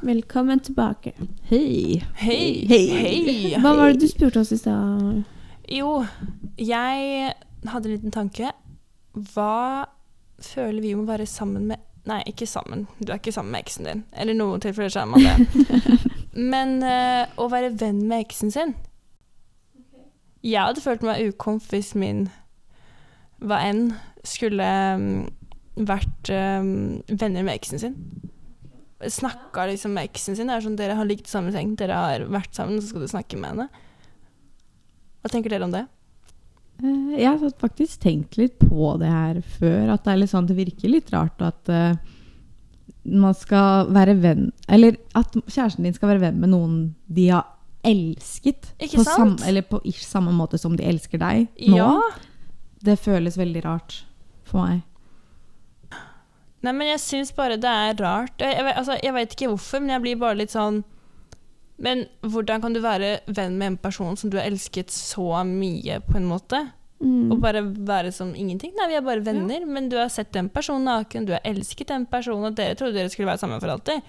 Velkommen tilbake. Hei. Hei. Hei. Hei. Hva Hva- var var det du spurte oss i stad? Jo, jeg hadde en liten tanke. Hva føler vi om å være sammen med Nei, ikke sammen. Du er ikke sammen med eksen din. Eller i noen tilfeller så er man det. Men eh, å være venn med eksen sin Jeg hadde følt meg ukomf hvis min hva enn skulle mm, vært mm, venner med eksen sin. Snakka liksom med eksen sin. Det er sånn, dere har ligget i samme seng, dere har vært sammen, så skal du snakke med henne. Hva tenker dere om det? Eh, Jeg har satt- faktisk tenkt litt på det her før, at det, er litt sånn, det virker litt rart at eh, man skal være venn Eller at kjæresten din skal være venn med noen de har elsket. Ikke på sant? sam- eller på ish samme måte som de elsker deg nå. Ja. Det føles veldig rart for meg. Nei, men jeg syns bare det er rart. Jeg, jeg, vet- altså, jeg veit ikke hvorfor, men jeg blir bare litt sånn Men hvordan kan du være venn med en person som du har elsket så mye, på en måte? Mm. Og bare være som ingenting? Nei, vi er bare venner, men du har sett den personen naken, du har elsket den personen, og dere trodde dere skulle være sammen for alltid.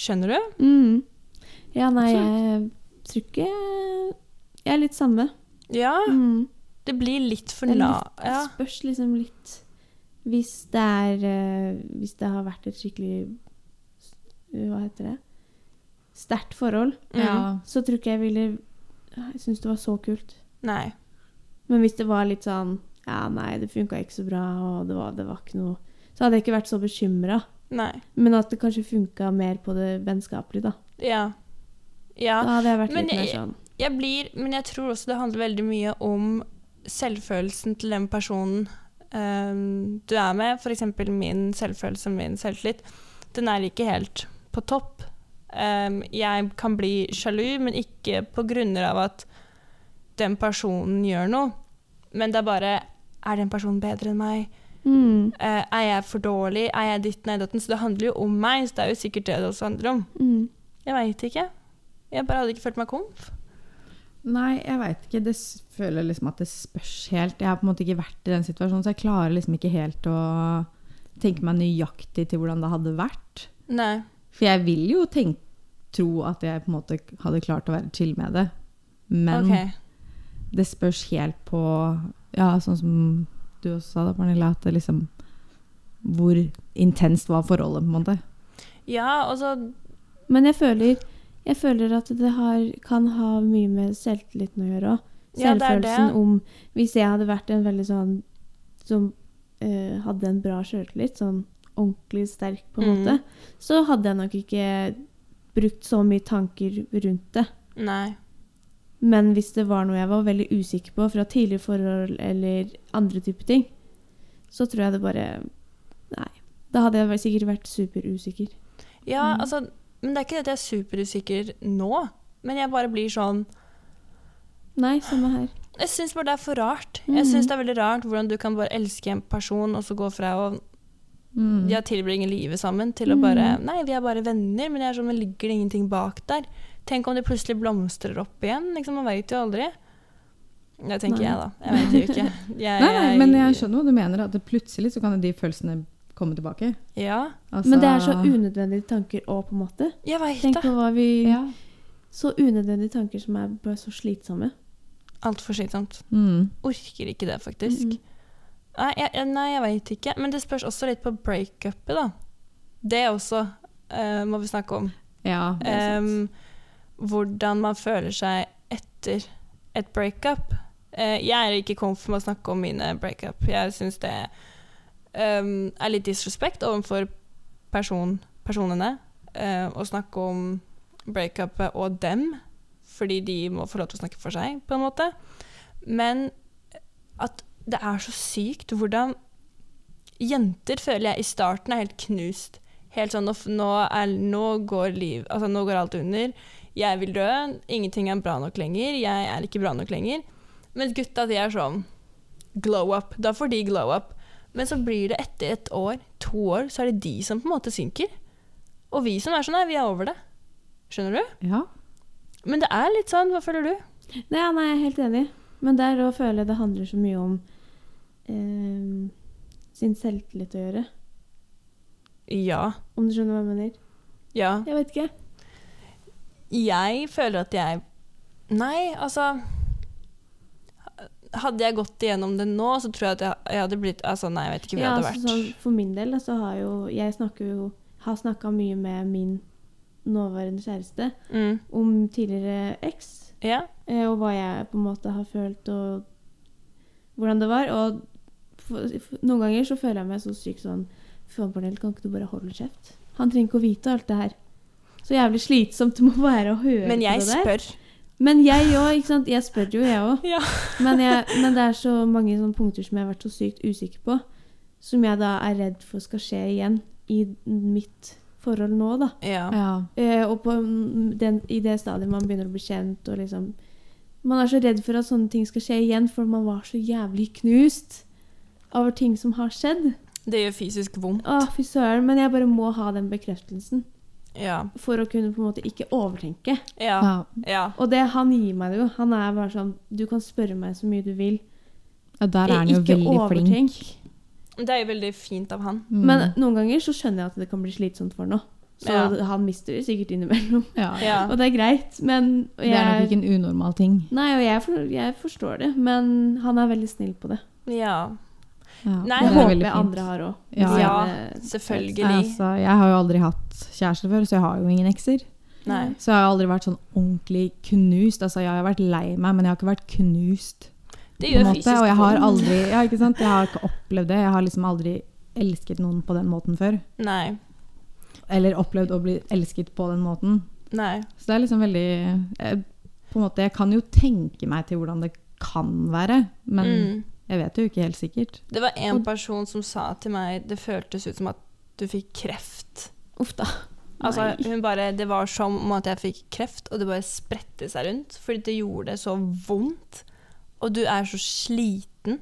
Skjønner du? Mm. Ja, nei, jeg tror ikke jeg- Jeg er litt samme. Ja. Mm. Det blir litt for Det er na... litt- Ja. Spørs liksom litt Hvis det er eh, Hvis det har vært et skikkelig Hva heter det? Sterkt forhold, Mm. så tror ikke jeg ville Jeg syns det var så kult. Nei. Men hvis det var litt sånn Ja, nei, det funka ikke så bra, og det var, det var ikke noe Så hadde jeg ikke vært så bekymra. Nei. Men at det kanskje funka mer på det vennskapelige, da. Ja. Ja. Da hadde jeg vært Men litt mer jeg- sånn Jeg blir, men jeg tror også det handler veldig mye om selvfølelsen til den personen ehm, du er med. F.eks. min selvfølelse og min selvtillit. Den er ikke helt på topp. Ehm, jeg kan bli sjalu, men ikke på grunner av at den personen gjør noe. Men det er bare Er den personen bedre enn meg? mm, Eh, er jeg for dårlig? Er jeg ditt, nei, datten? Så det handler jo om meg. Så det er jo sikkert det det også handler om. mm. Jeg veit ikke. Jeg bare hadde ikke følt meg komf. Nei, jeg veit ikke. Det s- føler liksom at det spørs helt. Jeg har på en måte ikke vært i den situasjonen, så jeg klarer liksom ikke helt å tenke meg nøyaktig til hvordan det hadde vært. Nei. For jeg vil jo tenk- tro at jeg på en måte hadde klart å være chill med det. Men ok. det spørs helt på Ja, sånn som du også sa da, Pernille, at det liksom Hvor intenst var forholdet, på en måte. Ja, altså, og så Men jeg føler, jeg føler at det har, kan ha mye med selvtilliten å gjøre òg. Ja, det er det. Selvfølelsen om Hvis jeg hadde vært en veldig sånn som eh, hadde en bra sjøltillit, sånn ordentlig sterk på en Mm. måte, så hadde jeg nok ikke brukt så mye tanker rundt det. Nei. Men hvis det var noe jeg var veldig usikker på fra tidligere forhold eller andre typer ting, så tror jeg det bare Nei. Da hadde jeg vel sikkert vært superusikker. Ja, Mm. altså Men det er ikke det at jeg er superusikker nå. Men jeg bare blir sånn Nei, samme her. Jeg syns bare det er for rart. Mm. Jeg synes det er veldig rart hvordan du kan bare elske en person, og så gå fra å Mm. ja, tilbringe livet sammen til å Mm. bare Nei, vi er bare venner, men jeg er sånn, men ligger det ingenting bak der? Tenk om det plutselig blomstrer opp igjen? Liksom, man veit jo aldri. Det tenker Nei. jeg, da. Jeg veit jo ikke. Jeg, Nei, nei, men jeg skjønner hva du mener. At det plutselig så kan jo de følelsene komme tilbake. Ja, Altså- Men det er så unødvendige tanker òg, på en måte. jeg veit Tenk det. på hva vi ja. Så unødvendige tanker som er bare så slitsomme. Altfor slitsomt. mm. Orker ikke det, faktisk. Mm. Nei, jeg, jeg- nei, jeg veit ikke. Men det spørs også litt på breakupet, da. Det også eh, må vi snakke om. ja. det er sant. Em, Ehm, hvordan man føler seg etter et breakup. Eh, jeg er ikke komf med å snakke om mine breakup. Jeg syns det em, er litt disrespekt overfor person, personene eh, å snakke om breakupet og dem, fordi de må få lov til å snakke for seg, på en måte. Men at det er så sykt hvordan jenter føler jeg i starten er helt knust. Helt sånn, nå, f- nå, er, nå, går liv, altså, nå går alt under. Jeg vil dø. Ingenting er bra nok lenger. Jeg er ikke bra nok lenger. Men gutta, de er sånn glow up. Da får de glow up. Men så blir det etter et år, to år, så er det de som på en måte synker. Og vi som er sånn, nei, vi er over det. Skjønner du? ja. Men det er litt sånn, hva føler du? Nei, ja, nei, jeg er helt enig. Men der òg føler jeg det handler så mye om eh, sin selvtillit å gjøre. Ja. Om du skjønner hva jeg mener? Ja. Jeg vet ikke. Jeg føler at jeg Nei, altså Hadde jeg gått igjennom det nå, så tror jeg at jeg, jeg hadde blitt Altså, nei, jeg vet ikke hvor Ja, jeg hadde altså, vært. sånn for min del da, så har jo Jeg snakker jo Har snakka mye med min nåværende kjæreste Mm. om tidligere eks, Ja. eh, og hva jeg på en måte har følt, og hvordan det var. Og for, for, noen ganger så føler jeg meg så sykt sånn Faen, Pernille, kan ikke du bare holde kjeft? Han trenger ikke å vite alt det her. Så jævlig slitsomt det må være å høre Men jeg på det der. spør. Men jeg òg, ikke sant. Jeg spør jo, jeg òg. Ja. Men, jeg- men det er så mange sånne punkter som jeg har vært så sykt usikker på, som jeg da er redd for skal skje igjen i mitt forhold nå, da. ja. Ja. Eh, og på mm, den, i det stadiet man begynner å bli kjent og liksom Man er så redd for at sånne ting skal skje igjen, for man var så jævlig knust over ting som har skjedd. Det gjør fysisk vondt. Å, fy søren. Men jeg bare må ha den bekreftelsen Ja. for å kunne på en måte ikke overtenke. Ja. Ja. ja. Og det han gir meg det jo. Han er bare sånn Du kan spørre meg så mye du vil. ja, der er han jo ikke veldig flink. overtenk. Det er jo veldig fint av han. Mm. Men noen ganger så skjønner jeg at det kan bli slitsomt for noe. Så Ja. han mister det sikkert innimellom. ja. Ja. Og det er greit, men og Det er nok jeg- ikke en unormal ting. Nei, og jeg, for, jeg forstår det, men han er veldig snill på det. ja. Ja, Nei, det Jeg er det håper veldig fint. andre har òg. Ja, ja. Nei, Selvfølgelig. altså, jeg har jo aldri hatt kjæreste før, så jeg har jo ingen ekser. Nei. Så jeg har aldri vært sånn ordentlig knust. Altså, jeg har vært lei meg, men jeg har ikke vært knust. Det på en gjør måte, fysisk og jeg har vondt. aldri ja, ikke sant? Jeg har ikke opplevd det. Jeg har liksom aldri elsket noen på den måten før. Nei. Eller opplevd å bli elsket på den måten. Nei. Så det er liksom veldig jeg, på en måte, jeg kan jo tenke meg til hvordan det kan være, men Mm. jeg vet jo ikke helt sikkert. Det var en Og- person som sa til meg det føltes ut som at du fikk kreft. Uff da. Altså, Nei. hun bare, det var som om at jeg fikk kreft, og det bare spredte seg rundt. Fordi det gjorde det så vondt. Og du er så sliten.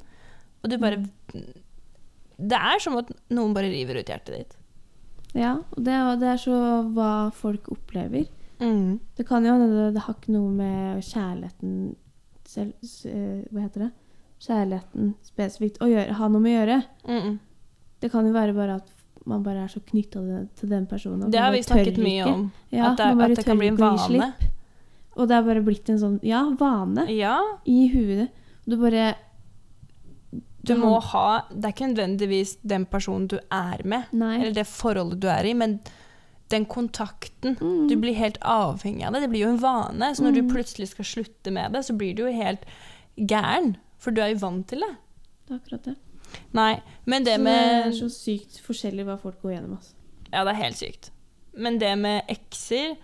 Og du bare Mm. Mm. Det er som at noen bare river ut hjertet ditt. Ja, og det, er- det er så hva folk opplever. Det kan jo hende det, det har ikke noe med kjærligheten selv, s- eh, Hva heter det? Kjærligheten spesifikt å gjøre, ha noe med å gjøre. Mm -mm. Det kan jo være bare at man bare er så knytta til den personen. at Det man har bare vi snakket tør mye ikke. om. Ja, at det, man bare at det kan tør bli en ikke å gi vane. slipp. Og det er bare blitt en sånn ja, vane Ja, i huet. Du bare du Mm. må ha Det er ikke nødvendigvis den personen du er med, Nei. eller det forholdet du er i, men den kontakten Mm. Du blir helt avhengig av det. Det blir jo en vane. Så når Mm. du plutselig skal slutte med det, så blir du jo helt gæren. For du er jo vant til det. Det er akkurat det. Nei, men det Så det med er så sykt forskjellig hva folk går gjennom. Altså. Ja, det er helt sykt. Men det med ekser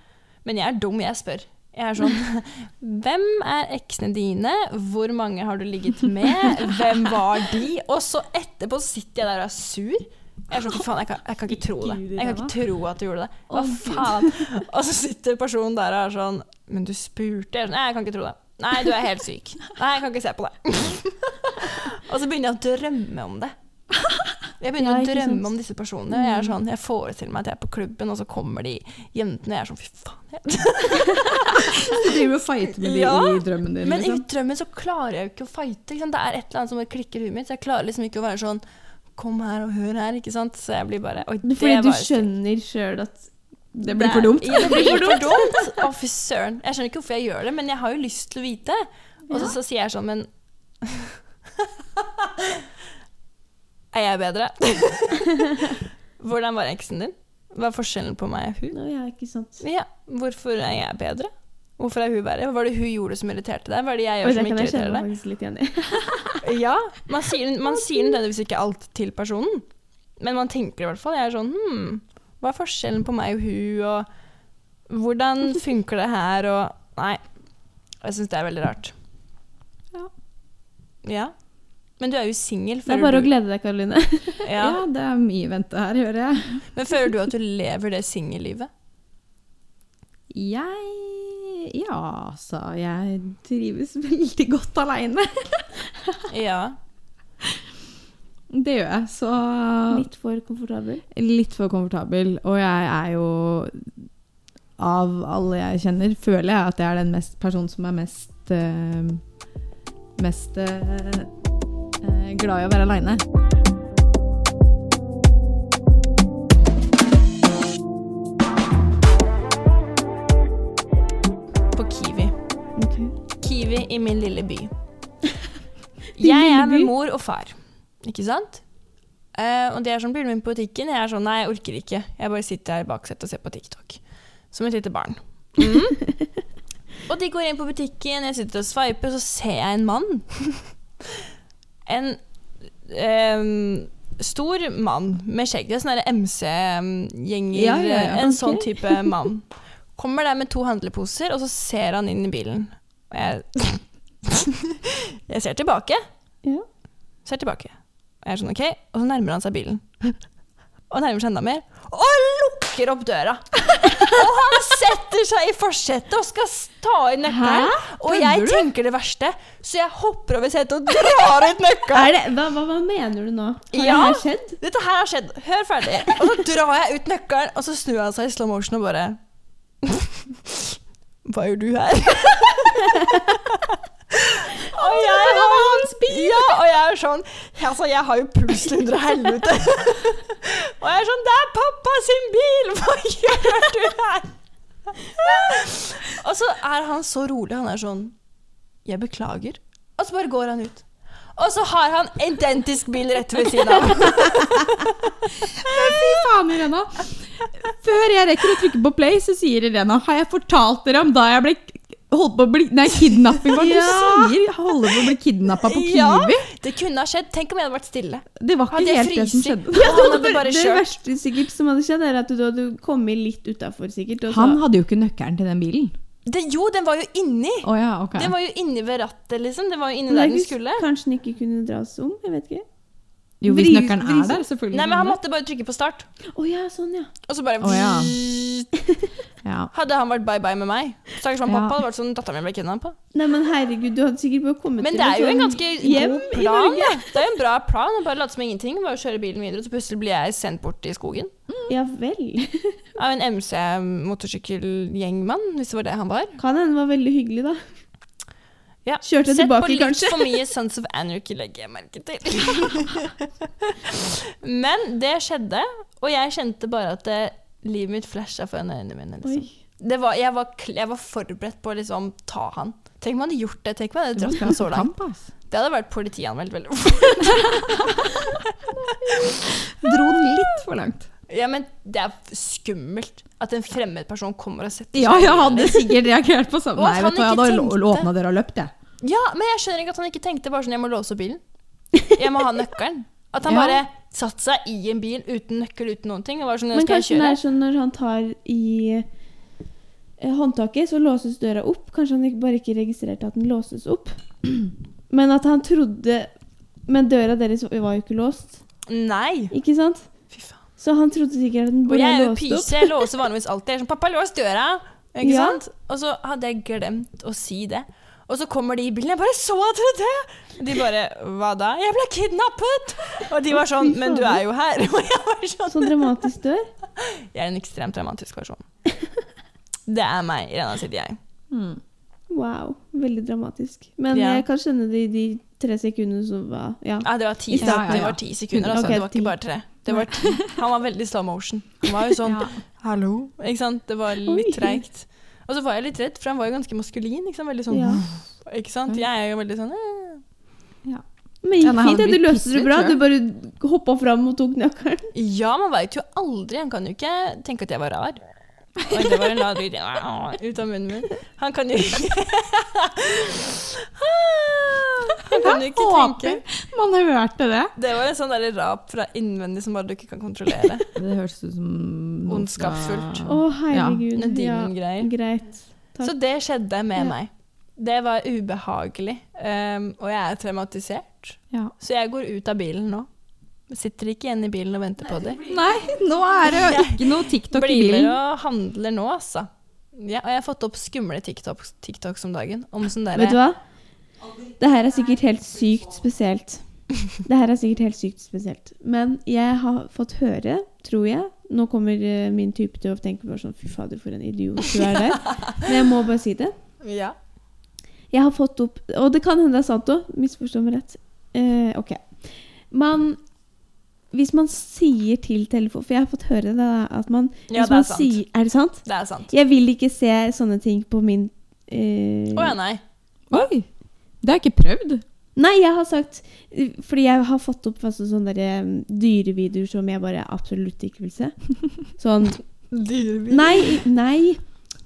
Men jeg er dum, jeg spør. Jeg er sånn Hvem er eksene dine? Hvor mange har du ligget med? Hvem var de? Og så etterpå sitter jeg der og er sur. Jeg er sånn, fy faen, jeg kan, jeg kan ikke tro det. Jeg kan ikke tro at du gjorde det. Hva faen? Og så sitter personen der og er sånn Men du spurte. Jeg er sånn, Nei, jeg kan ikke tro det. Nei, du er helt syk. Nei, jeg kan ikke se på det. Og så begynner jeg å drømme om det. Jeg begynner Ja, å ikke drømme sant? om disse personene. og Jeg, Mm. er sånn, jeg forestiller meg at jeg er på klubben, og så kommer de jentene, og jeg er sånn fy faen. jeg- Du driver og fighter med de Ja, i drømmen din, Men i drømmen så klarer jeg jo ikke å fighte. Ikke sant? Det er et eller annet som bare klikker i huet mitt, så jeg klarer liksom ikke å være sånn Kom her og hør her, ikke sant. Så jeg blir bare Oi, det Fordi du var skjønner sjøl at Det blir for dumt. Ja, det blir for dumt. Å, fy søren. Jeg skjønner ikke hvorfor jeg gjør det, men jeg har jo lyst til å vite. Og så, så sier jeg sånn, men Er jeg bedre? Hvordan var eksen din? Hva er forskjellen på meg og hun? Nå, ja, ikke sant. Ja, hvorfor er jeg bedre? Hvorfor er hun verre? Hva var det hun gjorde som irriterte deg? Hva er det jeg Oi, gjør det som kan ikke jeg kjenne irriterer meg deg? faktisk litt igjen i. Ja, Man sier, man sier nødvendigvis ikke alt til personen, men man tenker i hvert fall. Jeg er sånn Hm, hva er forskjellen på meg og hun, og hvordan funker det her, og Nei. Jeg syns det er veldig rart. Ja. Ja. Men du er jo singel. Det er føler bare å du- glede deg, Karoline. Ja. Ja, det er mye vente her, hører jeg. Men føler du at du lever det singellivet? Jeg Ja, altså. Jeg trives veldig godt aleine. Ja. Det gjør jeg. Så Litt for komfortabel. litt for komfortabel. Og jeg er jo Av alle jeg kjenner, føler jeg at jeg er den mest personen som er mest eh, Mest eh, eh, glad i å være aleine. meg i min lille by. Jeg lille er med by? mor og far, ikke sant? Eh, og det er sånn blir det med politikken. Jeg er sånn, nei, jeg orker ikke. Jeg bare sitter her i baksetet og ser på TikTok. Som et lite barn. Mm. og de går inn på butikken, jeg sitter og sveiper, så ser jeg en mann. en ehm, stor mann med skjegg. Det er sånn sånne MC-gjenger. Ja, ja, ja. En Ok. sånn type mann. Kommer der med to handleposer, og så ser han inn i bilen. Og jeg, jeg ser tilbake. Ja. Ser tilbake. Og jeg er sånn, ok. Og så nærmer han seg bilen. Og nærmer seg enda mer. Og lukker opp døra! Og han setter seg i forsetet og skal s- ta i nøkkelen. Og jeg Kødder du? tenker det verste, så jeg hopper over setet og drar ut nøkkelen. Er det, hva, hva, hva mener du nå? Har Ja. det her skjedd? Dette her har skjedd. Hør ferdig. Og så drar jeg ut nøkkelen, og så snur han seg i slow motion og bare Hva gjør du her? og jeg har hans bil! Ja, og jeg er sånn Altså, jeg har jo pulsen under helvete. og jeg er sånn Det er pappa sin bil! Hva gjør du her? og så er han så rolig. Han er sånn Jeg beklager. Og så bare går han ut. Og så har han identisk bil rett ved siden av. Fy faen, Irena. Før jeg rekker å trykke på play, så sier Irena Har jeg fortalt dere om da jeg ble holdt på å bli Nei, kidnapping, hva er det Ja. du sier? Jeg holder på å bli kidnappa på Kiwi. det kunne ha skjedd. Tenk om jeg hadde vært stille. Det var Hadde ikke jeg helt det som fryst, skjedde. og han hadde bare det kjørt. verste sikkert som hadde skjedd, er at du hadde kommet litt utafor, sikkert. Og så, Han hadde jo ikke nøkkelen til den bilen. Det, jo, den var jo inni! Å ja, ok. Den var jo inni ved rattet, liksom. Den var jo inni Men det er der den ikke- skulle. Kanskje den ikke kunne dras om? Jeg vet ikke. Jo, hvis Vri- nøkkelen vri- er der, selvfølgelig. Nei, men han måtte bare trykke på start, Å ja, sånn, ja. og så bare Å, ja. ja. Hadde han vært bye-bye med meg, stakkars han Ja. pappa, hadde vært sånn datteren min ble kidnappa. Nei, men herregud, du hadde sikkert bare kommet Men det til er et jo en liksom sånn ganske hjem god i plan. Norge. da. Det er jo en bra plan å bare late som ingenting, bare kjøre bilen videre, og så plutselig blir jeg sendt bort i skogen Ja vel. av en MC-motorsykkelgjengmann, hvis det var det han var. Kan hende det var veldig hyggelig, da. Ja. Kjørte jeg Sett tilbake, på litt kanskje? for mye Sons of Anarchy, legger jeg merke til. Men det skjedde, og jeg kjente bare at det, livet mitt flasha foran øynene mine. Liksom. Oi. Det var, jeg, var, kl- jeg var forberedt på å liksom, ta han. Tenk om han hadde gjort det. Tenk om han hadde Det var dratt meg så ganske langt. kamp, ass. Det hadde vært politianmeldt veldig Dro den litt for langt. Ja, men det er skummelt at en fremmed person kommer og setter Ja, jeg hadde sikkert reagert på samme. Og at Nei, han vet du hva, jeg ikke hadde tenkte. lå- åpna døra og løpt, jeg. Ja, men jeg skjønner ikke at han ikke tenkte bare sånn Jeg må låse opp bilen. Jeg må ha nøkkelen. At han Ja. bare satte seg i en bil uten nøkkel, uten noen ting. Og var sånn, Men skal jeg kanskje det kjøre? er sånn når han tar i eh, håndtaket, så låses døra opp. Kanskje han ikke, bare ikke registrerte at den låses opp. Men at han trodde Men døra deres var jo ikke låst, Nei. ikke sant? Fy faen. Så han trodde sikkert at den Og ble jeg er jo låst opp. pyse, jeg låser vanligvis alltid. Jeg er sånn, pappa, lås døra! Ikke Ja. sant? Og så hadde jeg glemt å si det. Og så kommer de i bilen, jeg bare så at du det! De bare, hva da? Jeg ble kidnappet! Og de var sånn, men du er jo her. Og jeg var Så sånn, dramatisk dør. jeg er en ekstremt dramatisk person. Det er meg, Irena sitt jeg. Mm. Wow. Veldig dramatisk. Men Ja. jeg kan skjønne det i de tre sekundene som var Ja. Ja, det var ti, I starten, det ja. var ti sekunder, altså. Ok, det var ti. ikke bare tre. Det var ti. Han var veldig slow motion. Han var jo sånn, Ja. hallo? Ikke sant? Det var Oi. litt treigt. Og så var jeg litt redd, for han var jo ganske maskulin. Ikke sant? Veldig sånn ja. Ikke sant? Jeg er jo veldig sånn eh. Men Ja, gikk nei, han fint, det. blir Du løste det pisset, bra. tror Du jeg. bare hoppa fram og tok nøkkelen. Ja, man veit jo aldri. Han kan jo ikke tenke at jeg var rar. Oi, det var en rar lyd ut av munnen min. Han kan jo ikke Han kan jo ikke tenke. Man hørte det. Det var en sånn der rap fra innvendig som bare du ikke kan kontrollere. Det høres ut som noe Ondskapsfullt. fra- Å, herregud. Noen Ja, demon-greier. Greit. Takk. Så det skjedde med Ja. meg. Det var ubehagelig. Um, og jeg er traumatisert. Ja. Så jeg går ut av bilen nå. Sitter ikke igjen i bilen og venter på dem. Nei, nå er det jo ikke noe TikTok i Blir med bilen. og handler nå, altså. Ja, og jeg har fått opp skumle TikToks, TikToks om dagen. Om sånn derre Vet du hva? Det her er sikkert helt sykt spesielt. Det her er sikkert helt sykt spesielt. Men jeg har fått høre, tror jeg Nå kommer eh, min type til å tenke bare sånn Fy fader, for en idiot du er der. Men jeg må bare si det. Ja. Jeg har fått opp Og det kan hende det er sant òg. Misforstå meg rett. Eh, ok. Man Hvis man sier til telefon... For jeg har fått høre det, da, at man Ja, det hvis er man sant. Sier, er det sant? Det er sant. Jeg vil ikke se sånne ting på min eh, Å ja, nei. Oi, Det har jeg ikke prøvd. Nei, jeg har sagt Fordi jeg har fått opp masse sånne der, um, dyrevideoer som jeg bare absolutt ikke vil se. Sånn Dyrebil. Nei, nei.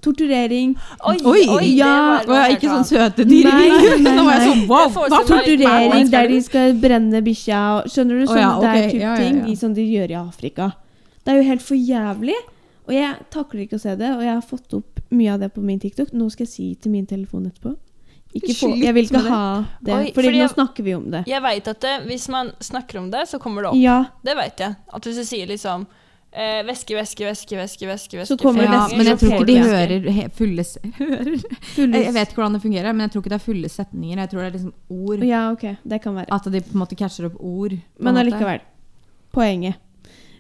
Torturering. Oi, Oi, ja, det Og var- jeg er ikke sånn søte dyr. Nei, nei, Nå var jeg sånn wow, Jeg får hva sånn- Nei, Torturering nei, der de skal brenne bikkja. og- Skjønner du? Å Sånn ja, der ok, type ja, ja, ja. ting som de gjør i Afrika. Det er jo helt for jævlig. Og jeg takler ikke å se det, og jeg har fått opp mye av det på min TikTok. Nå skal jeg si til min telefon etterpå. Ikke få, Slutt jeg vil ikke med det. ha det, Oi, fordi, fordi nå jeg- snakker vi om det. Jeg veit at det, hvis man snakker om det, så kommer det opp. Ja, Det veit jeg. At hvis du sier liksom eh, væske, væske, væske, væske, væske, væske Så kommer flere det Ja, ganger, væske, men jeg så tror får ikke du de væske. hører he- fulle s- Hører? fulle Jeg jeg vet ikke hvordan det fungerer, men jeg tror ikke det er fulle setninger. Jeg tror det er liksom ord. Ja, ok. Det kan være. At de på en måte catcher opp ord. på en Men måte. allikevel. Poenget.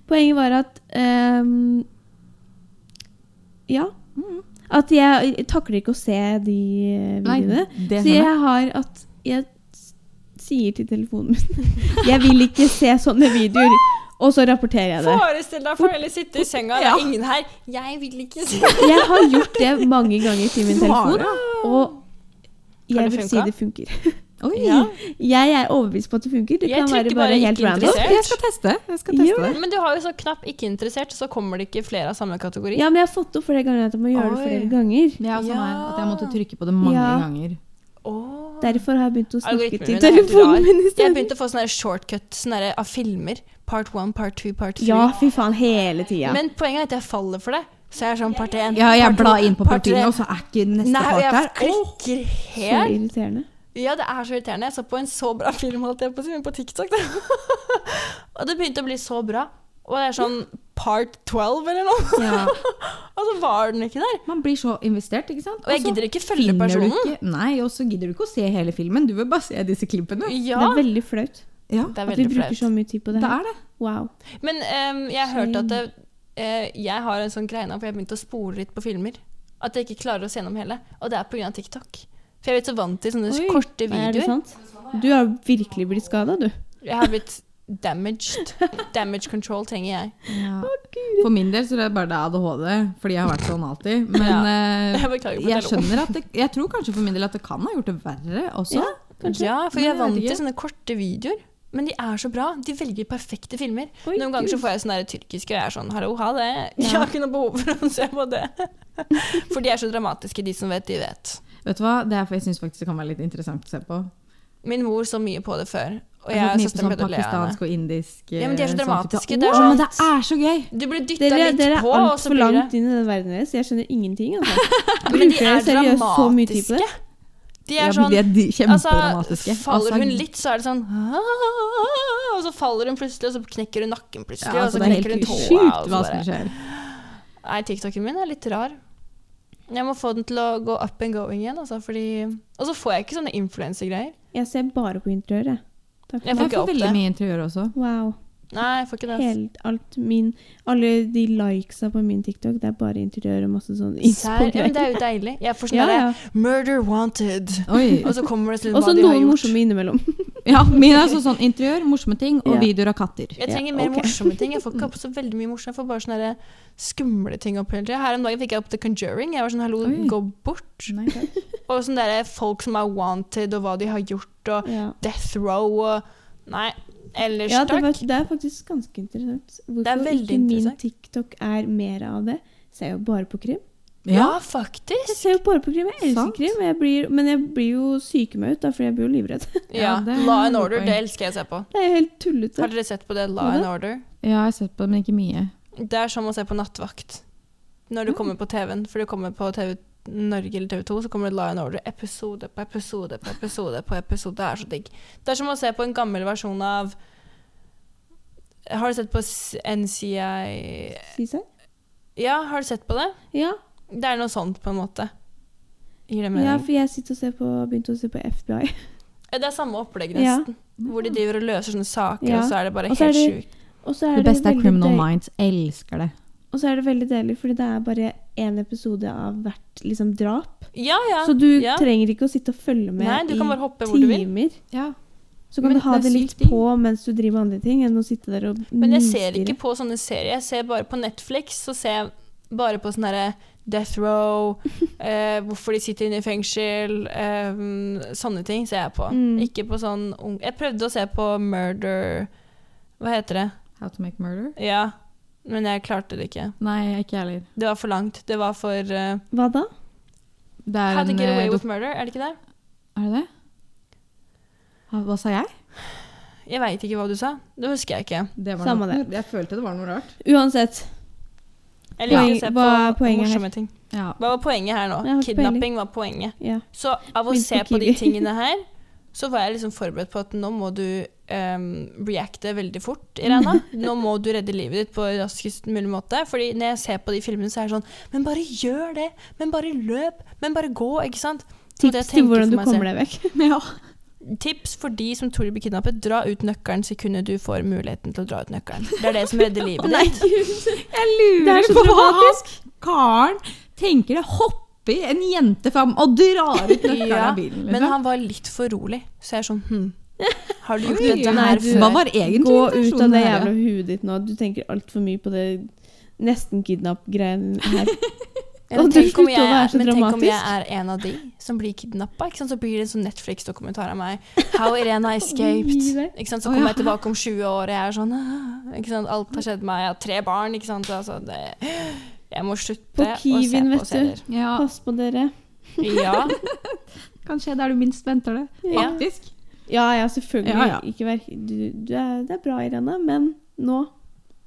Poenget var at ehm, Ja. Mhm. At jeg, jeg takler ikke å se de eh, Nei, videoene. så det skjønner jeg. sånn, jeg har at Jeg s- sier til telefonen min Jeg vil ikke se sånne videoer. Og så rapporterer jeg det. Forestill deg for heller sitte i senga, det Ja. er ingen her. Jeg vil ikke si Jeg har gjort det mange ganger til min telefon, Bare. og Har jeg det vil si funka? det funker. Oi. Ja. Jeg er overbevist på at det funker. Det Jeg kan være trykker bare bare helt ikke random. interessert. Jeg skal teste. Jeg skal teste Gjør det. Men du har jo så knapp 'ikke interessert', så kommer det ikke flere av samme kategori. Ja, men jeg har fått opp flere ganger at jeg må gjøre det Oi. flere ganger. Det er jo sånn her Ja. at jeg måtte trykke på det mange Ja. ganger. Åh. Derfor har jeg begynt å snakke Algoritmen til min er helt telefonen rar. min i Jeg stedet. begynte å få sånne der shortcut sånne der av filmer. Part one, part two, part three. Ja, fy faen, hele tida. Men poenget er at jeg faller for det. Så jeg er sånn part én. Ja, jeg part to, blar inn på part tre. partiene, og så er ikke neste Nei, og part jeg der. klikker Så helt. irriterende. Ja, det er så irriterende. Jeg så på en så bra film, holdt jeg på å si, men på TikTok. Da. og det begynte å bli så bra. Og det er sånn part 12 eller noe. Ja. Og så var den ikke der. Man blir så investert, ikke sant? Og jeg så gidder ikke følge finner du personen. ikke- Nei, og så gidder du ikke å se hele filmen. Du vil bare se disse klippene. Det Ja, er veldig flaut Ja, det er at vi veldig bruker flaut. sånn så mye tid på det. det her. er det. Wow. Men ehm, jeg har hørt at det, eh, jeg har en sånn greie nå, for jeg har begynt å spole litt på filmer. At jeg ikke klarer å se gjennom hele. Og det er pga. TikTok. For jeg er blitt så vant til sånne Oi, korte Er det videoer. sant? Du har virkelig blitt skada, du. Jeg har blitt damaged. Damage control trenger jeg. Ja. For min del så er det bare det er ADHD, fordi jeg har vært sånn alltid. Men eh, Jeg beklager på jeg telefonen. skjønner at det, Jeg tror kanskje for min del at det kan ha gjort det verre også. Ja. Kanskje. Ja, for jeg Men jeg er vet vant ikke. til sånne korte videoer. Men de er så bra. De velger perfekte filmer. Oi, Noen ganger så Gud. får jeg sånne der tyrkiske, og jeg er sånn hallo, ha det. Jeg Ja. har ikke noe behov for å se på det. For de er så dramatiske, de som vet, de vet. Vet du hva? Det er, jeg syns faktisk det kan være litt interessant å se på. Min mor så mye på det før, og har jeg sett og mye søsteren pleide på sånn å le av henne. pakistansk og indisk eh, Ja, men de er så sånn type- dramatiske, det er Å, sånn- men det er så gøy! Du blir dytta Dere, litt dere er på, og så altfor blir langt det inn i den verden deres. Jeg skjønner ingenting. Altså. Men de Bruker dere er seriøst så mye tid på det? dramatiske. De Ja, er men sånn de er de- Altså, kjempedramatiske. faller Altså, hun litt, så er det sånn "Ah," Og så faller hun plutselig, og så knekker hun nakken plutselig, og Ja, så altså, det er helt knekker hun tåa. og sjukt så hva bare- som skjer. Nei, TikToken min er litt rar. Jeg må få den til å gå up and going igjen. Altså, fordi... Og så får jeg ikke sånne influensergreier. Jeg ser bare på interiøret. Jeg Takk. Jeg får får ikke opp veldig det. mye interiør også. Wow. Nei, jeg får ikke det. ass. Helt alt min Alle de likesa på min TikTok, det er bare interiør og masse sånn Sær, ja, men inspo-greier. det er jo deilig. Jeg får sånn Ja, derre ja. Murder wanted. Oi. Og så kommer det til Og hva så de har noen gjort. morsomme innimellom. Ja, min er altså sånn interiør, morsomme ting og Ja. videoer av katter. Jeg Ja, trenger mer ok. morsomme ting. Jeg får ikke opp så veldig mye morsomt. Jeg får bare sånne derre skumle ting opp hele tida. Her om dagen fikk jeg opp The Conjuring. Jeg var sånn hallo, Oi. gå bort. Og sånn derre folk som er wanted, og hva de har gjort, og Ja. death row og Nei. Ellers, Ja, det, takk. var, det er faktisk ganske interessant. Det er Hvorfor veldig ikke min interessant. TikTok er mer av det? Ser jo bare på krim. Ja, Ja. faktisk. Jeg ser jo bare på krim, jeg elsker Sant. krim. og Jeg blir, men jeg blir jo syker meg ut, da, for jeg blir jo livredd. Ja, det er Law and et Order, poeng. det elsker jeg å se på. Det er jo helt Har tullete. dere sett på det? Law Hva da? and Order? ja, jeg har sett på det, men ikke mye. Det er som å se på Nattvakt. Når du kommer på TV-en, for du kommer på TV Norge eller TV 2, så kommer det Law and Order. Episode på episode på episode på episode. Det er så digg. Det er som å se på en gammel versjon av Har du sett på s- NCI Sier seg. Ja, har du sett på det? Ja. Det er noe sånt, på en måte. Gir det ja, mening? for jeg sitter og ser på, begynte å se på FBI. det er samme opplegg, Ja. nesten. Hvor de driver og løser sånne saker, Ja. og så er det bare Og så er helt det- sjukt. Og så er Det det, beste er veldig Criminal døy- Minds. Elsker det. Og så er det veldig deilig, fordi det er bare én episode av hvert liksom, drap. Ja, ja. så du ja. trenger ikke å sitte og følge med Nei, du kan bare hoppe i hvor du vil. timer. Ja. Så kan du Men ha det er det litt sykt digg. på mens du driver med andre ting, enn å sitte der og Men jeg ser nistirre. ikke på sånne serier. Jeg ser bare på Netflix, så ser jeg bare på sånn herre death row, eh, hvorfor de sitter inne i fengsel, eh, sånne ting ser jeg på. Mm. Ikke på sånn ung Jeg prøvde å se på murder Hva heter det? How to make murder? Ja, men jeg klarte det ikke. Nei, ikke jeg heller. Det var for langt. Det var for eh, Hva da? Det er How to en get eh, away dok- with murder, er det ikke det? Er det det? Ha- Hva sa jeg? Jeg veit ikke hva du sa. Det husker jeg ikke. Det var Samme noe, Jeg følte det var noe rart. Uansett. Jeg liker Poeng- å se hva er på poenget her? morsomme ting. Ja. Hva var poenget her nå? Jeg har ikke Kidnapping var poenget. Ja. Så av å Minst se på på de Kiwi. tingene her, så var jeg liksom forberedt på at nå må du ehm, reacte veldig fort, Irena. Nå må du redde livet ditt på raskest mulig måte. Fordi når jeg ser på de filmene, så er det sånn Men bare gjør det! Men bare løp! Men bare gå! Ikke sant? Så det Tips til tenker for hvordan du meg selv. kommer deg vekk. ja. Tips for de som tror de blir kidnappet. Dra ut nøkkelen sekundet du får muligheten til å dra ut nøkkelen. Det er det som redder livet ditt. Jeg lurer Det er så på hva han dramatisk. karen tenker det. Hopper en jente fram og drar ut nøkkelen Ja, av bilen. Men liksom. han var litt for rolig, så jeg er sånn hm, Har du gjort Oi, dette nei, her du- før? hva var egentlig Gå ut av intensjonen det her, jævla huet ditt nå. Du tenker altfor mye på det nesten-kidnapp-greien her. Ja, men Og du tenk, om slutta jeg, å være så men tenk om jeg dramatisk. er en av de som blir kidnappa. Så blir det en sånn Netflix-dokumentar av meg. 'How Irena Gi escaped'. deg. Ikke sant? Så Å, kommer ja. jeg tilbake om 20 år, og jeg er sånn «Ah», ikke sant? Alt har skjedd meg, jeg har tre barn. Ikke sant? Altså, det, jeg må slutte På Kiwin, å vet du. se på serier. Ja, Pass på dere. Ja, kan skje der du minst venter det. Ja. Faktisk. Ja, ja, selvfølgelig. Ja, ja. Ikke vær, du, du er, det er bra, Irene, men nå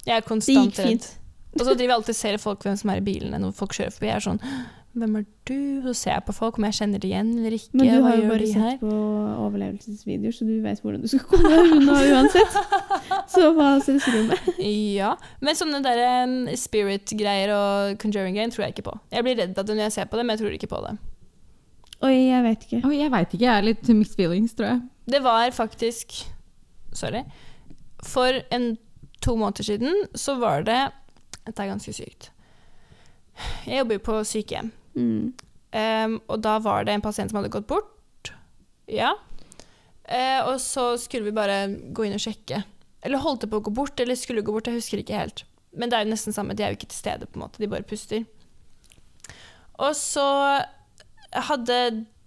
jeg er Det gikk konstant redd. fint. Og så driver jeg alltid og ser folk hvem som er i bilene når folk kjører forbi. Jeg er sånn Hvem er du? Så ser jeg på folk om jeg kjenner det igjen eller ikke. Men du Hva har jo gjør bare de her? sett på overlevelsesvideoer, så du vet hvordan du skal komme deg unna uansett. Så hva synes du om det? Ja, men sånne der um, spirit-greier og conjuring-greier tror jeg ikke på. Jeg blir redd av det når jeg ser på det, men jeg tror ikke på det. Oi, jeg vet ikke. Oi, jeg veit ikke, jeg er litt mixed feelings, tror jeg. Det var faktisk Sorry. For en, to måneder siden så var det Dette er ganske sykt. Jeg jobber jo på sykehjem, Mm. um, og da var det en pasient som hadde gått bort. Ja. Eh, og så skulle vi bare gå inn og sjekke. Eller holdt det på å gå bort, eller skulle gå bort, jeg husker ikke helt. Men det er jo nesten samme, de er jo ikke til stede, på en måte, de bare puster. Og så hadde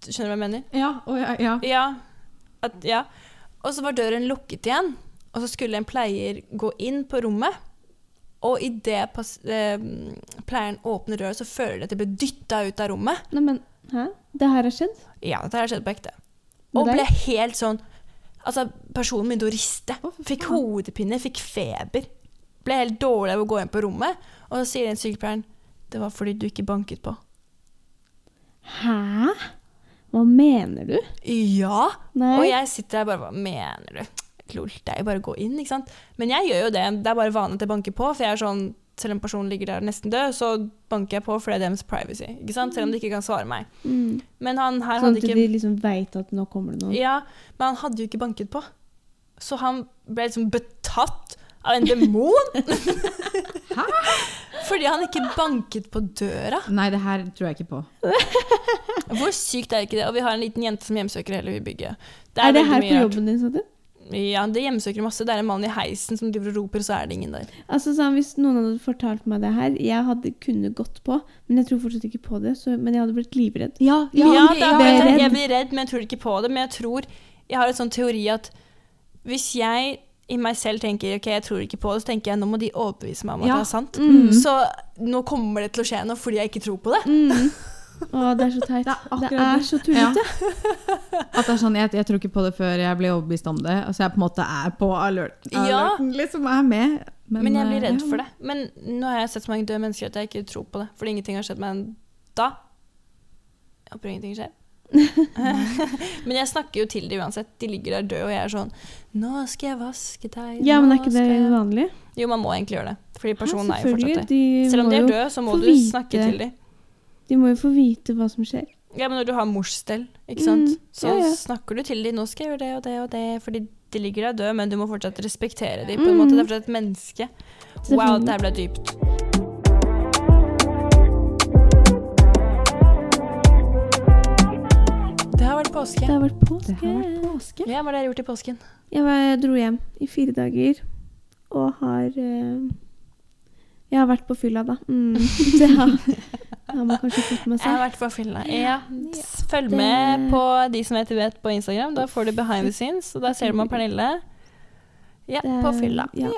Skjønner du hva jeg mener? Ja, og ja, ja. Ja. At, ja. Og så var døren lukket igjen, og så skulle en pleier gå inn på rommet. Og idet eh, pleieren åpner døra, så føler de at de blir dytta ut av rommet. Nei, men hæ? Det her har skjedd? Ja, dette her skjedde på ekte. Med Og deg? ble helt sånn Altså, personen begynte å riste. Å, for Fikk faen. hodepine, fikk feber. Ble helt dårlig av å gå inn på rommet. Og så sier den sykepleieren det var fordi du ikke banket på. Hæ? Hva mener du? Ja! Nei. Og jeg sitter der bare Hva mener du? Lol, det er jo bare å gå inn, ikke sant? Men jeg gjør jo det. Det er bare vanlig at jeg banker på. For jeg er sånn, selv om personen ligger der nesten død, så banker jeg på, for det er deres privacy. ikke sant? Selv om de ikke kan svare meg. Mm. Men han her Sånn hadde at ikke de liksom veit at nå kommer det noe. Ja, men han hadde jo ikke banket på. Så han ble liksom betatt av en demon. Fordi han ikke banket på døra. Nei, det her tror jeg ikke på. Hvor sykt er ikke det? Og vi har en liten jente som hjemsøker hele bygget. er, det veldig her mye på rart. jobben din? sa du? Ja, det hjemsøker masse. Det er en mann i heisen som driver og roper, og så er det ingen der. Altså sånn, Hvis noen hadde fortalt meg det her Jeg hadde kunne gått på, men jeg tror fortsatt ikke på det. Så, men jeg hadde blitt livredd. Ja, Ja, jeg- da, jeg men er jeg, redd. jeg blir redd, men jeg tror ikke på det. Men jeg tror Jeg har en sånn teori at hvis jeg i meg selv tenker ok, jeg tror ikke på det, så tenker jeg nå må de overbevise meg om at Ja. det er sant. Mm. Så nå kommer det til å skje noe fordi jeg ikke tror på det. Mm. Å, det er så teit. Det er akkurat det. så tullete. At det er sånn, jeg, jeg tror ikke på det før jeg blir overbevist om det. Altså jeg på en måte er på alert, Ja. alerten, liksom. Jeg er med. Men, jeg blir eh, redd ja. for det. Men nå har jeg sett så mange døde mennesker at jeg ikke tror på det. Fordi ingenting har skjedd meg da. Jeg håper ingenting skjer. men jeg snakker jo til de uansett. De ligger der døde, og jeg er sånn Nå skal jeg vaske deg. Ja, men er nå ikke det skal jeg-" vanlig? Jo, man må egentlig gjøre det. Fordi personen Ja, er jo fortsatt selvfølgelig. der. De Selv om må de er jo- døde, så må få du vite. snakke til dem. De må jo få vite hva som skjer. Ja, men når du har morsstell, ikke Mm, sant? så ja, ja. snakker du til dem 'Nå skal jeg gjøre det og det og det', fordi de ligger der døde, men du må fortsatt respektere dem. På en Mm. måte. Det er fortsatt et menneske. Wow, Selvfølgelig. det her ble dypt. Det har vært Det påske. har vært påske. Det har vært påske. Ja, Hva har dere gjort i påsken? Jeg var, dro hjem i fire dager og har eh, Jeg har vært på fylla, da. Mm. Det har, har man kanskje fått med Jeg har seg. vært på fylla. Ja. Ja. Følg Det- med på de som heter vet på Instagram. Da får du behind the scenes, og da ser du meg og Pernille. Ja, Det- på fylla. Eh, ja.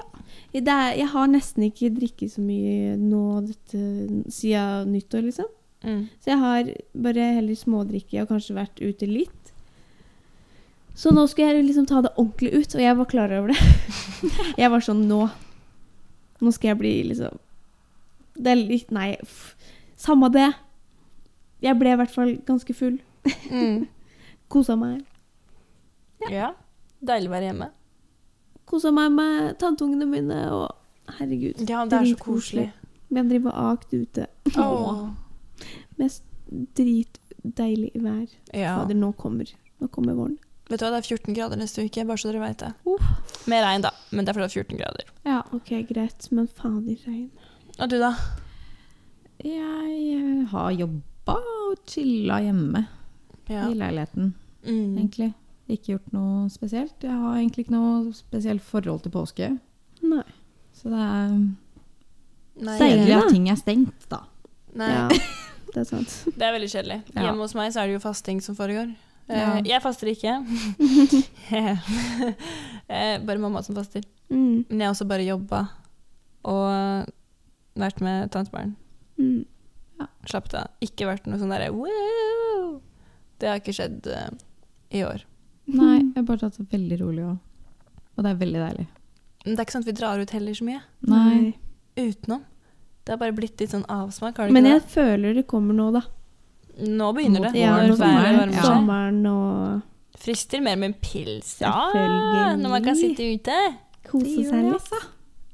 Det er, jeg har nesten ikke drikket så mye nå dette, siden nyttår, liksom. Mm. Så jeg har bare heller smådrikke og kanskje vært ute litt. Så nå skulle jeg liksom ta det ordentlig ut, og jeg var klar over det. jeg var sånn Nå Nå skal jeg bli liksom Det er litt Nei, pff, samme det. Jeg ble i hvert fall ganske full. Mm. Kosa meg. ja. Deilig å være hjemme. Kosa meg med tanteungene mine og Herregud. Ja, det er så Dritkoselig. koselig. Vi har drevet og akt ute. Åh. Mest dritdeilig vær. Ja. Fader, nå kommer Nå kommer våren. Vet du hva, det er 14 grader neste uke, bare så dere vet det. Med regn, da. Men det er fordi det er 14 grader. Ja, OK, greit, men fader, regn. Og du, da? Jeg eh, har jobba og chilla hjemme Ja. i leiligheten, Mm. egentlig. Ikke gjort noe spesielt. Jeg har egentlig ikke noe spesielt forhold til påske. Nei. Så det er Nei, Deilig. deilig at ting er stengt, da. Nei. Ja, det er sant. Det er veldig kjedelig. Ja. Hjemme hos meg så er det jo fasting som foregår. Eh, Ja. Jeg faster ikke. Eh, bare mamma som faster. Mm, Men jeg har også bare jobba og vært med tantebarn. mm. Slappet av. Ikke vært noe sånn derre wow! Det har ikke skjedd eh, i år. Nei, jeg har bare tatt det veldig rolig òg. Og det er veldig deilig. Men det er ikke sånn at vi drar ut heller så mye. Nei. Utenom. Det har bare blitt litt sånn avsmak. Har det Men ikke jeg føler det kommer nå, da. det? Nå begynner det. Når været Mot våren, sommeren. varmer Ja. seg. Sommeren og Frister mer med en pils. Ja, Selvfølgelig. når man kan sitte ute. kose seg litt.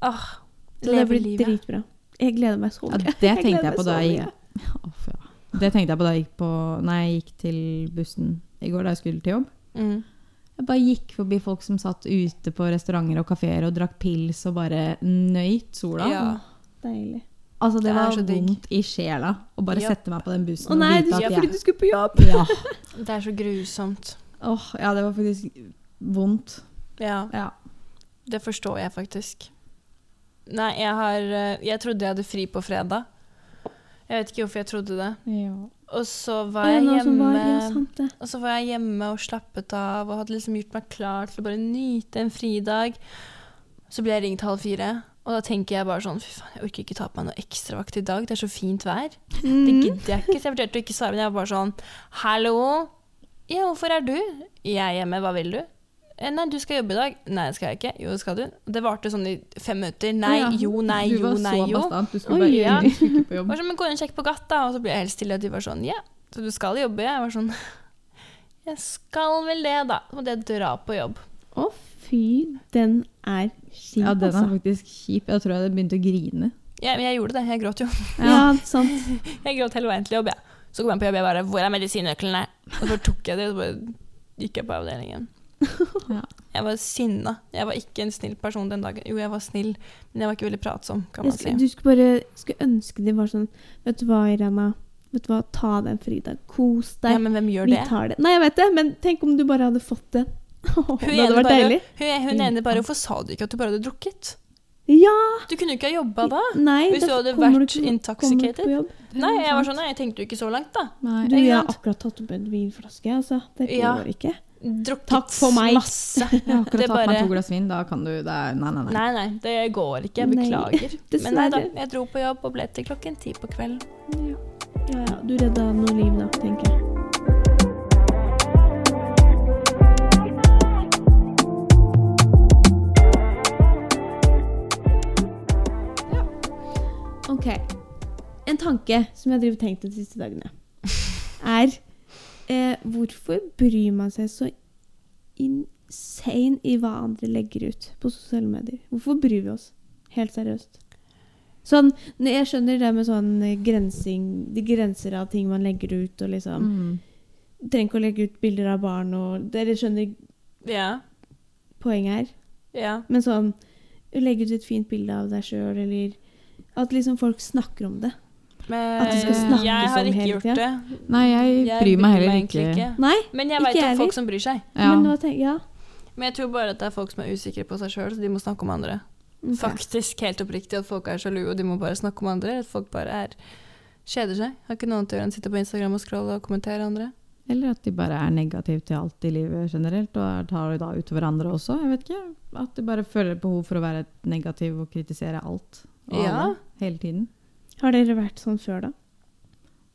Åh, Så det leve blir livet. dritbra. Jeg gleder meg så Ja, mye. det gleder tenkte jeg meg på da så jeg Å, fy, ja. Det tenkte jeg på da jeg gikk på Nei, jeg gikk til bussen i går da jeg skulle til jobb. Mm. Jeg bare gikk forbi folk som satt ute på restauranter og kafeer og drakk pils og bare nøyt sola. Ja. Deilig. Altså, det, Det er var så digg. vondt i sjela å bare Ja. sette meg på den bussen Å nei, og du, vite ja, Sånn at fordi jeg du skulle på jobb! ja. Det er så grusomt. Åh, ja, det var faktisk vondt. Ja, Ja. det forstår jeg faktisk. Nei, jeg har eh, Jeg trodde jeg hadde fri på fredag. Jeg vet ikke hvorfor jeg trodde det. Og så var Å, jeg nå som hjemme var, ja, sant det. Og så var jeg hjemme og slappet av og hadde liksom gjort meg klar til å bare nyte en fridag. Så ble jeg ringt halv fire, og da tenker jeg bare sånn Fy faen, jeg orker ikke ta på meg noe ekstravakt i dag, det er så fint vær. Det Mm. gidder jeg ikke. Så jeg vurderte å ikke svare, men jeg var bare sånn Hallo? Ja, hvorfor er du? Jeg er hjemme, hva vil du? «Eh, Nei, du skal jobbe i dag. Nei, det skal jeg ikke. Jo, det skal du. Det varte sånn i fem minutter. Nei, Ja. jo, nei, du jo, var nei, så jo. bastant. Du skulle Oi, bare ja. inn, du skulle ikke på jobb. Var sånn, men gå inn og sjekk på gata, og så ble jeg helt stille, og de var sånn, ja, så du skal jobbe? Jeg var sånn, jeg skal vel det da, og det dra på jobb. Å, fy, den er kjip, Ja, den altså. er faktisk kjip. Jeg tror jeg hadde begynt å grine. Ja, men jeg gjorde det, jeg gråt jo. Ja, sant. Jeg gråt hele veien til jobb, ja. Så kom jeg på jobb, jeg bare, hvor er medisinnøklene? Og så tok jeg det, og så bare gikk jeg på avdelingen. Ja. Jeg var sinna. Jeg var ikke en snill person den dagen. Jo, jeg var snill, men jeg var ikke veldig pratsom, kan man Jeg si. skulle, du skulle bare skulle ønske de var sånn Vet du hva, Irena? Vet du hva, ta deg en fridag. Kos deg. Ja, men hvem gjør Vi det? tar det. Nei, jeg vet det, men tenk om du bare hadde fått det. Hun det hadde ene vært bare- deilig. Hun, hun ene bare, hvorfor sa du ikke at du bare hadde drukket? Ja! Du kunne jo ikke ha jobbet da. Nei, Hvis da du hadde kommer vært ikke- kommer du intoxicated. ikke på jobb. Nei, jeg var sånn, nei, jeg tenkte jo ikke så langt da. Nei. Du, Ikke jeg har sant? akkurat tatt opp en vinflaske, altså. Det går Ja. ikke. Drukket Takk for meg. masse. Jeg har akkurat Det tatt meg bare- to glass vin, da kan du det er, Nei, nei, nei. Nei, nei, det går ikke. Jeg Nei, beklager. Men nei da, Dessverre. jeg dro på jobb og ble til klokken ti på kvelden. Ja. Ja, ja, du redda noe liv, da, tenker jeg. Ok. En tanke som jeg har drevet og tenkt de siste dagene, er eh, Hvorfor bryr man seg så insane i hva andre legger ut på sosiale medier? Hvorfor bryr vi oss? Helt seriøst. Sånn, ne- jeg skjønner det med sånn eh, grensing De grenser av ting man legger ut, og liksom Mm. Trenger ikke å legge ut bilder av barn og Dere skjønner Ja, poenget her. ja. Men sånn Legge ut et fint bilde av deg sjøl, eller At liksom folk snakker om det. Men At det skal snakkes jeg har om ikke hele gjort tida. det. Nei, jeg, bryr meg heller ikke. egentlig Nei, Men jeg ikke veit jeg om heller. folk som bryr seg. Ja. men hva tenker Ja. Men jeg tror bare at det er folk som er usikre på seg sjøl, så de må snakke om andre. Ok. Faktisk helt oppriktig at folk er sjalu, og de må bare snakke om andre. At folk bare er kjeder seg. Har ikke noe annet å gjøre enn å sitte på Instagram og scrolle og kommentere andre. Eller at de bare er negative til alt i livet generelt, og tar det da ut over andre også. Jeg vet ikke. At de bare føler behov for å være negativ og kritisere alt. Og Ja. alle, hele tiden. Har dere vært sånn før, da?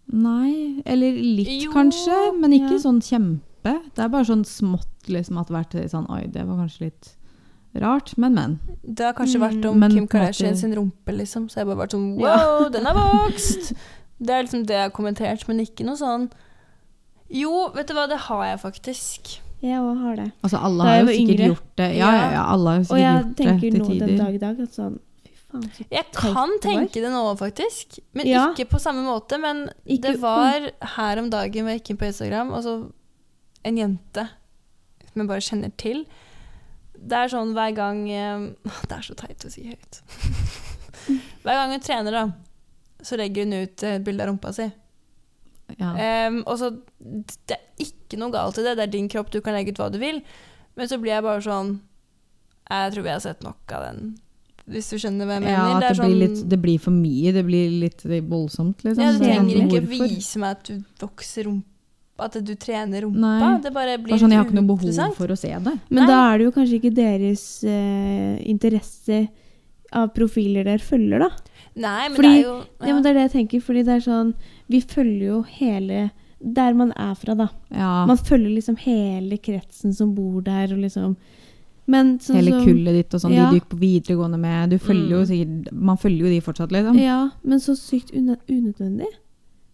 Nei, eller litt Jo, kanskje, men ikke ja. sånn kjempe. Det er bare sånn smått liksom at vært sånn Oi, det var kanskje litt rart, men, men. Det har kanskje Mm, vært om men Kim på en Kardashian måte- sin rumpe, liksom. Så jeg bare vært sånn Ja. Wow, den har vokst! Det er liksom det jeg har kommentert, men ikke noe sånn Jo, vet du hva, det har jeg faktisk. Jeg òg har det. Altså, alle Da har jeg jo var sikkert yngre. gjort det. Ja, ja, ja, alle Altså, har jo Og jeg sikkert gjort det tenker til nå tider. den dag i dag at sånn Fy faen. Så Jeg teit kan det var. tenke det nå, faktisk. Men Ja. ikke på samme måte. Men Ikke- det var her om dagen hvor jeg gikk inn på Instagram, og så en jente som jeg bare kjenner til. Det er sånn hver gang eh, Det er så teit å si høyt. hver gang hun trener, da, så legger hun ut eh, et bilde av rumpa si. Ja. Ehm, og så Det er ikke noe galt i det. Det er din kropp, du kan legge ut hva du vil. Men så blir jeg bare sånn Jeg tror vi har sett nok av den. Hvis du skjønner hva jeg mener. Ja, at det, er sånn blir litt, det blir for mye. Det blir litt voldsomt, liksom. ja, du Så det er trenger sånn, ikke hvorfor? vise meg at du vokser rumpa, at du trener rumpa. Nei. Det bare blir Bare sånn, jeg har ikke noe uinteressant. behov for å se det. Men Nei. da er det jo kanskje ikke deres eh, interesse av profiler dere følger, da. Nei, men Fordi- det er jo Ja. men Det er det jeg tenker, fordi det er sånn Vi følger jo hele der man er fra, da. Ja, Man følger liksom hele kretsen som bor der, og liksom Men sånn hele som kullet ditt og sånn, Ja. de du gikk på videregående med. Du følger jo Mm. sikkert, man følger jo de fortsatt, liksom. Ja, men så sykt unø- unødvendig.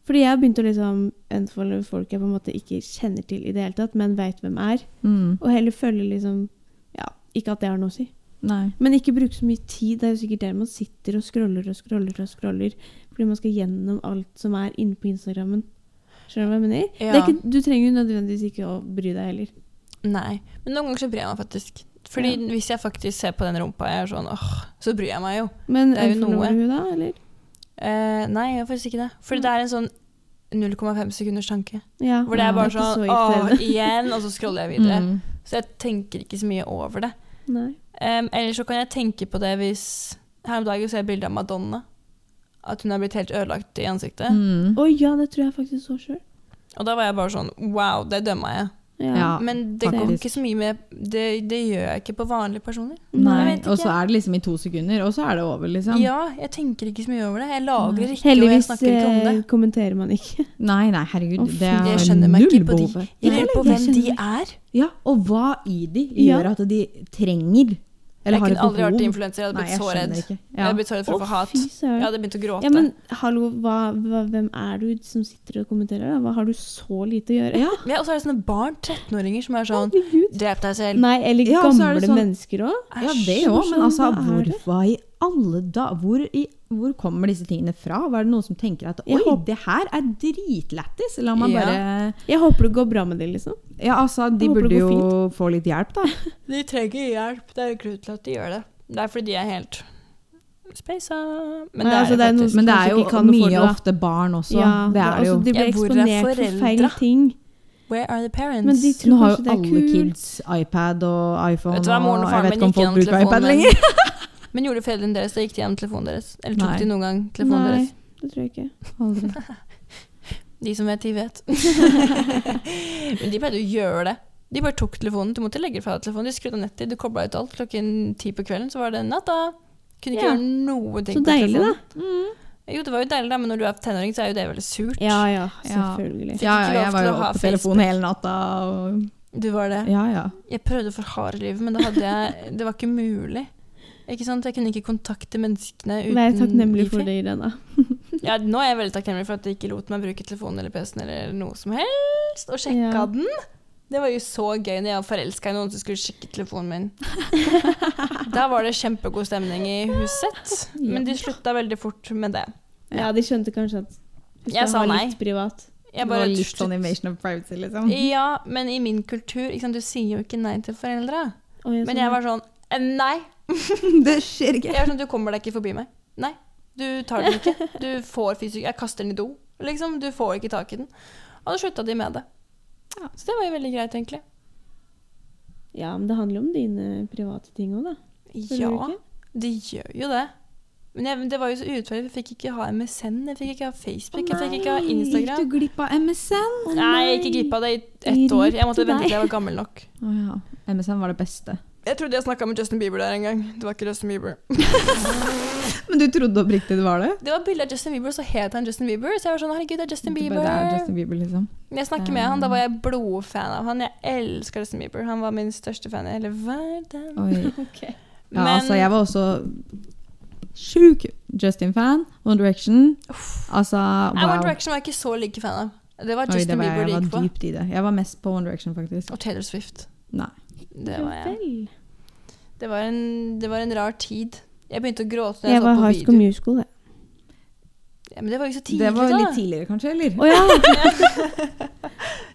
Fordi jeg har begynt å liksom unfollow folk jeg på en måte ikke kjenner til i det hele tatt, men veit hvem er. Mm. Og heller følge liksom Ja, ikke at det har noe å si. Nei. Men ikke bruke så mye tid. Det er jo sikkert der man sitter og scroller og scroller og scroller. Fordi man skal gjennom alt som er inne på Instagrammen. Skjønner du hva jeg mener? Ja. Det er ikke, du trenger jo nødvendigvis ikke å bry deg heller. Nei. Men noen ganger så bryr jeg meg faktisk. Fordi Ja. hvis jeg faktisk ser på den rumpa, jeg er sånn åh, så bryr jeg meg jo. Men Det er jo noe. unfollower du da, eller? Eh, nei, jeg gjør faktisk ikke det. Mm. Fordi det er en sånn 0,5 sekunders tanke. Ja. Hvor det er bare ikke så sånn åh, irriterende. igjen, og så scroller jeg videre. Mm. Så jeg tenker ikke så mye over det. Nei. Um, eller så kan jeg tenke på det hvis Her om dagen så jeg bilde av Madonna. At hun er blitt helt ødelagt i ansiktet. Mm. Å ja, det tror jeg faktisk så sjøl. Og da var jeg bare sånn Wow, det dømmer jeg. Ja. Men det går faktisk. ikke så mye med Det, det gjør jeg ikke på vanlige personer. Nei, Nei, jeg vet og så ikke. er det liksom i to sekunder, og så er det over, liksom. Ja, jeg tenker ikke så mye over det. Jeg lagrer ikke, og jeg Heldigvis snakker ikke om det. eh, kommenterer man ikke. Nei, nei, herregud, Å, fy. det Jeg er skjønner meg null ikke på de. behovet. Jeg Nei, lurer på jeg hvem de skjønner er. Ja, og hva i de Ja. gjør at de trenger, eller Jeg har et kunne behov? aldri vært influenser. Jeg hadde Nei, blitt jeg så redd. skjønner ikke. Jeg Ja. hadde blitt så redd for å få hat. fy Jeg søren. hadde begynt å gråte. Ja, men hallo, hva, hva, hvem er du som sitter og kommenterer? Da? Hva har du så lite å gjøre? Ja. Ja, og så er det sånne barn, 13-åringer, som er sånn Herregud. Drep deg selv. Nei, eller Ja, og så er gamle det sånn- mennesker òg. Ja, Æsj. det òg, men Hvordan altså, er hvor, det? hva i alle da? Hvor, i, hvor kommer disse tingene fra? Hva er det noen som tenker at Jeg oi, håper- det her er dritlættis? La meg Ja. bare Jeg håper det går bra med det, liksom. Ja, altså, de Jeg håper det burde går jo få litt hjelp, da. De trenger hjelp. Det er jo grunn til at de gjør det. Det er fordi de er helt speisa. Men det Nei, er altså, det det er noe faktisk. Men det Kanskje er ikke jo kan noe for det, mye da. ofte barn også. det da, er det jo. altså, De blir Ja, hvor er eksponert for feil foreldra? ting. Where are the parents? Men de tror Nå har kanskje jo det er alle kult. kids iPad og iPhone. Vet du hva, moren og jeg faren min vet ikke om gikk folk gjennom bruker iPad telefonen. lenger. Men gjorde foreldrene deres det? Gikk de gjennom telefonen deres? Eller tok Nei. de noen gang telefonen Nei, deres? det tror jeg ikke. Aldri. De som vet, de vet. Men de pleide å gjøre det. De bare tok telefonen. Du måtte legge fra deg telefonen. De skrudde av nettet, du kobla ut alt. Klokken ti på kvelden så var det natta. Kunne ikke Ja. gjøre noe ting Så deilig, da. Jo, det var jo deilig, da, men når du er tenåring, så er jo det veldig surt. Ja ja, Ja. selvfølgelig. Ja, ikke ja, lov jeg var til jo å ha oppe på Facebook. telefonen hele natta. Og... Du var det. Ja, ja. Jeg prøvde for harde livet, men da hadde jeg, det var ikke mulig. Ikke sant? Jeg kunne ikke kontakte menneskene uten Vær takknemlig for wifi. det, Irena. Ja, nå er jeg veldig takknemlig for at de ikke lot meg bruke telefonen eller PC-en eller noe som helst, og sjekka Ja. den. Det var jo så gøy når jeg var forelska i noen som skulle sjekke telefonen min. da var det kjempegod stemning i huset, men de slutta veldig fort med det. Ja, de skjønte kanskje at du Jeg skal sa ha nei. litt privat. Jeg det bare var litt sånn slutt- invasion of privacy, liksom. Ja, men i min kultur ikke sant? Du sier jo ikke nei til foreldra. Å, Men sa jeg nei. var sånn eh, Nei! det skjer Jeg var sånn, Du kommer deg ikke forbi meg. Nei, du tar den ikke. Du får fysisk Jeg kaster den i do. Liksom, Du får ikke tak i den. Og da slutta de med det. Ja. Så det var jo veldig greit, egentlig. Ja, men det handler jo om dine private ting òg, da. Føler du Ja. ikke? De gjør jo det. Men jeg, men det var jo så urettferdig. Jeg fikk ikke ha MSN, jeg fikk ikke ha Facebook, jeg fikk ikke ha Instagram. Gikk du glipp av MSN? Nei, jeg gikk glipp av det i ett år. Jeg måtte Drit i vente deg. til jeg var gammel nok. Å ja. MSN var det beste. Jeg trodde jeg snakka med Justin Bieber der en gang. Det var ikke Justin Bieber. Men du trodde oppriktig det var det? Det var bilde av Justin Bieber, og så het han Justin Bieber. Så jeg var sånn herregud, det er Justin Det Bieber. bare er Justin Bieber, liksom. Men Jeg snakker med han, da var Mm. jeg blodfan av han. Jeg elsker Justin Bieber. Han var min største fan i hele verden. Oi. Ok. Ja, Men- altså, jeg var også sjuk Justin-fan. One Direction. Altså, wow. Nei, One Direction var jeg ikke så like fan av. Det var Oi, Justin det var, Bieber jeg det var gikk på. dypt i det. Jeg var mest på One Direction, faktisk. Og Taylor Swift. Nei. Det var jeg. Vel. Det var en, det var en rar tid. Jeg begynte å gråte når Jeg jeg, var så på High School video. Musical, jeg. Ja, men det var jo ikke så tidlig, Det var litt da. tidligere, kanskje? eller? Å ja!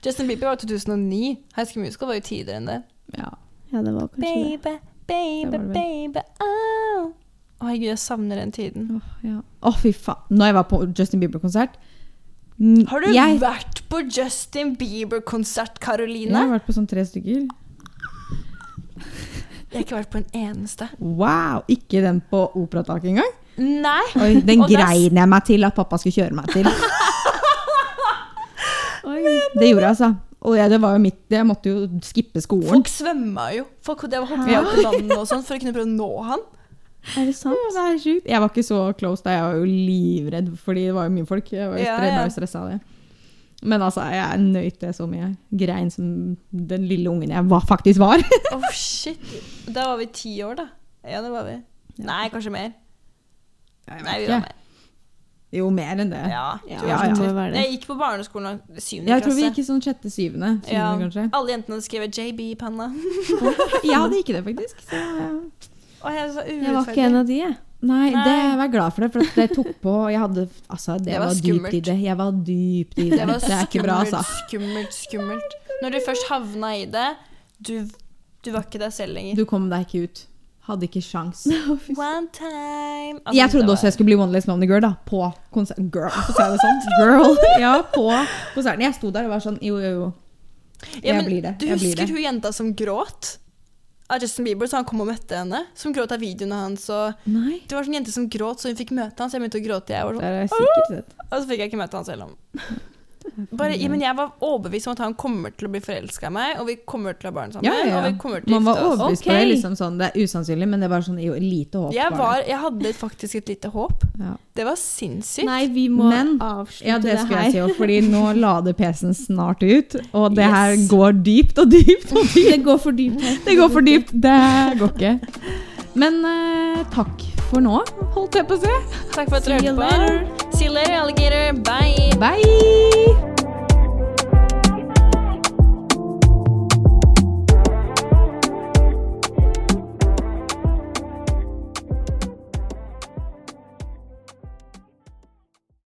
Justin Bieber var 2009. High School Musical var jo tidligere enn det. Ja. Ja, det var kanskje det. Baby, Det baby, var det baby, oh. Å, herregud, jeg savner den tiden. Åh, ja. Åh, fy faen. Når jeg var på Justin Bieber-konsert mm, Har du jeg, vært på Justin Bieber-konsert, jeg har Karoline? vært på sånn tre stykker. Jeg har ikke vært på en eneste. Wow! Ikke den på Operataket engang? Nei! Oi, den Og da- grein jeg meg til at pappa skulle kjøre meg til. Oi. Det gjorde jeg, altså. Og jeg, det var jo mitt, jeg måtte jo skippe skolen. Folk svømma jo. Folk det var hoppet Ja. opp i vannet og sånn for å kunne prøve å nå han. Er det sant? Ja, det er sjukt. Jeg var ikke så close da, jeg var jo livredd, fordi det var jo mye folk. Jeg var jo Ja, stre- ja. ble jo stressa av det. Men altså, jeg nøyt det så mye. Grein som den lille ungen jeg var, faktisk var. Oh, shit. Da var vi ti år, da. Ja, det var vi. Nei, kanskje mer. Nei, vi var mer. Jo, mer enn det. Ja. Ja, Ja, det ja. må jo være det. Jeg gikk på barneskolen i syvende Jeg tror vi klasse. gikk i sånn sjette-syvende. Ja. syvende kanskje. Alle jentene hadde skrevet JB i panna. Jeg hadde ikke det, faktisk. Så, Og jeg var så Jeg var ikke urettferdig. en av de, jeg. nei, det Nei. jeg var glad for det, for at det tok på. Jeg hadde, altså, det, Det var var, skummelt. dypt i det. Jeg var dypt i det. Det var det er ikke bra, skummelt, altså. skummelt, skummelt. Når du først havna i det, du, du var ikke deg selv lenger. Du kom deg ikke ut. Hadde ikke sjans. One time Altså, Jeg det trodde var- også jeg skulle bli One Less Lonely Girl da, på konserten. Girl, hvorfor sa jeg det sånn? Girl, ja, på konserten. Jeg sto der og var sånn, jo, jo, jo. Ja, Jeg men blir det. Du jeg husker blir det. hun jenta som gråt? Av Justin Bieber, så han kom og møtte henne. Som gråt av videoene hans. Og Nei. det var sånn jente som gråt, så hun fikk møte han, så jeg begynte å gråte. Jeg var Det sånn, er sikkert det. og så fikk jeg ikke møte han selv om. Bare, ja, men jeg var overbevist om at han kommer til å bli forelska i meg, og vi kommer til å ha barn sammen. Ja, ja, ja. Og vi kommer til å Man var gifte oss. overbevist på Ok. det, liksom sånn, det er usannsynlig, men det var sånn, jo, lite håp. Jeg, var det. var, jeg hadde faktisk et lite håp. Ja. Det var sinnssykt. Nei, vi må Men- avslutte Ja, det det skulle her. jeg si òg, fordi nå lader PC-en snart ut. Og det her Yes. går dypt og dypt og dypt. Det går for dypt her. Det går for dypt. Det går ikke. Men eh, takk for nå, holdt jeg på å si. Takk for at dere See you hørte på. later. See you later, alligator. Bye. Bye!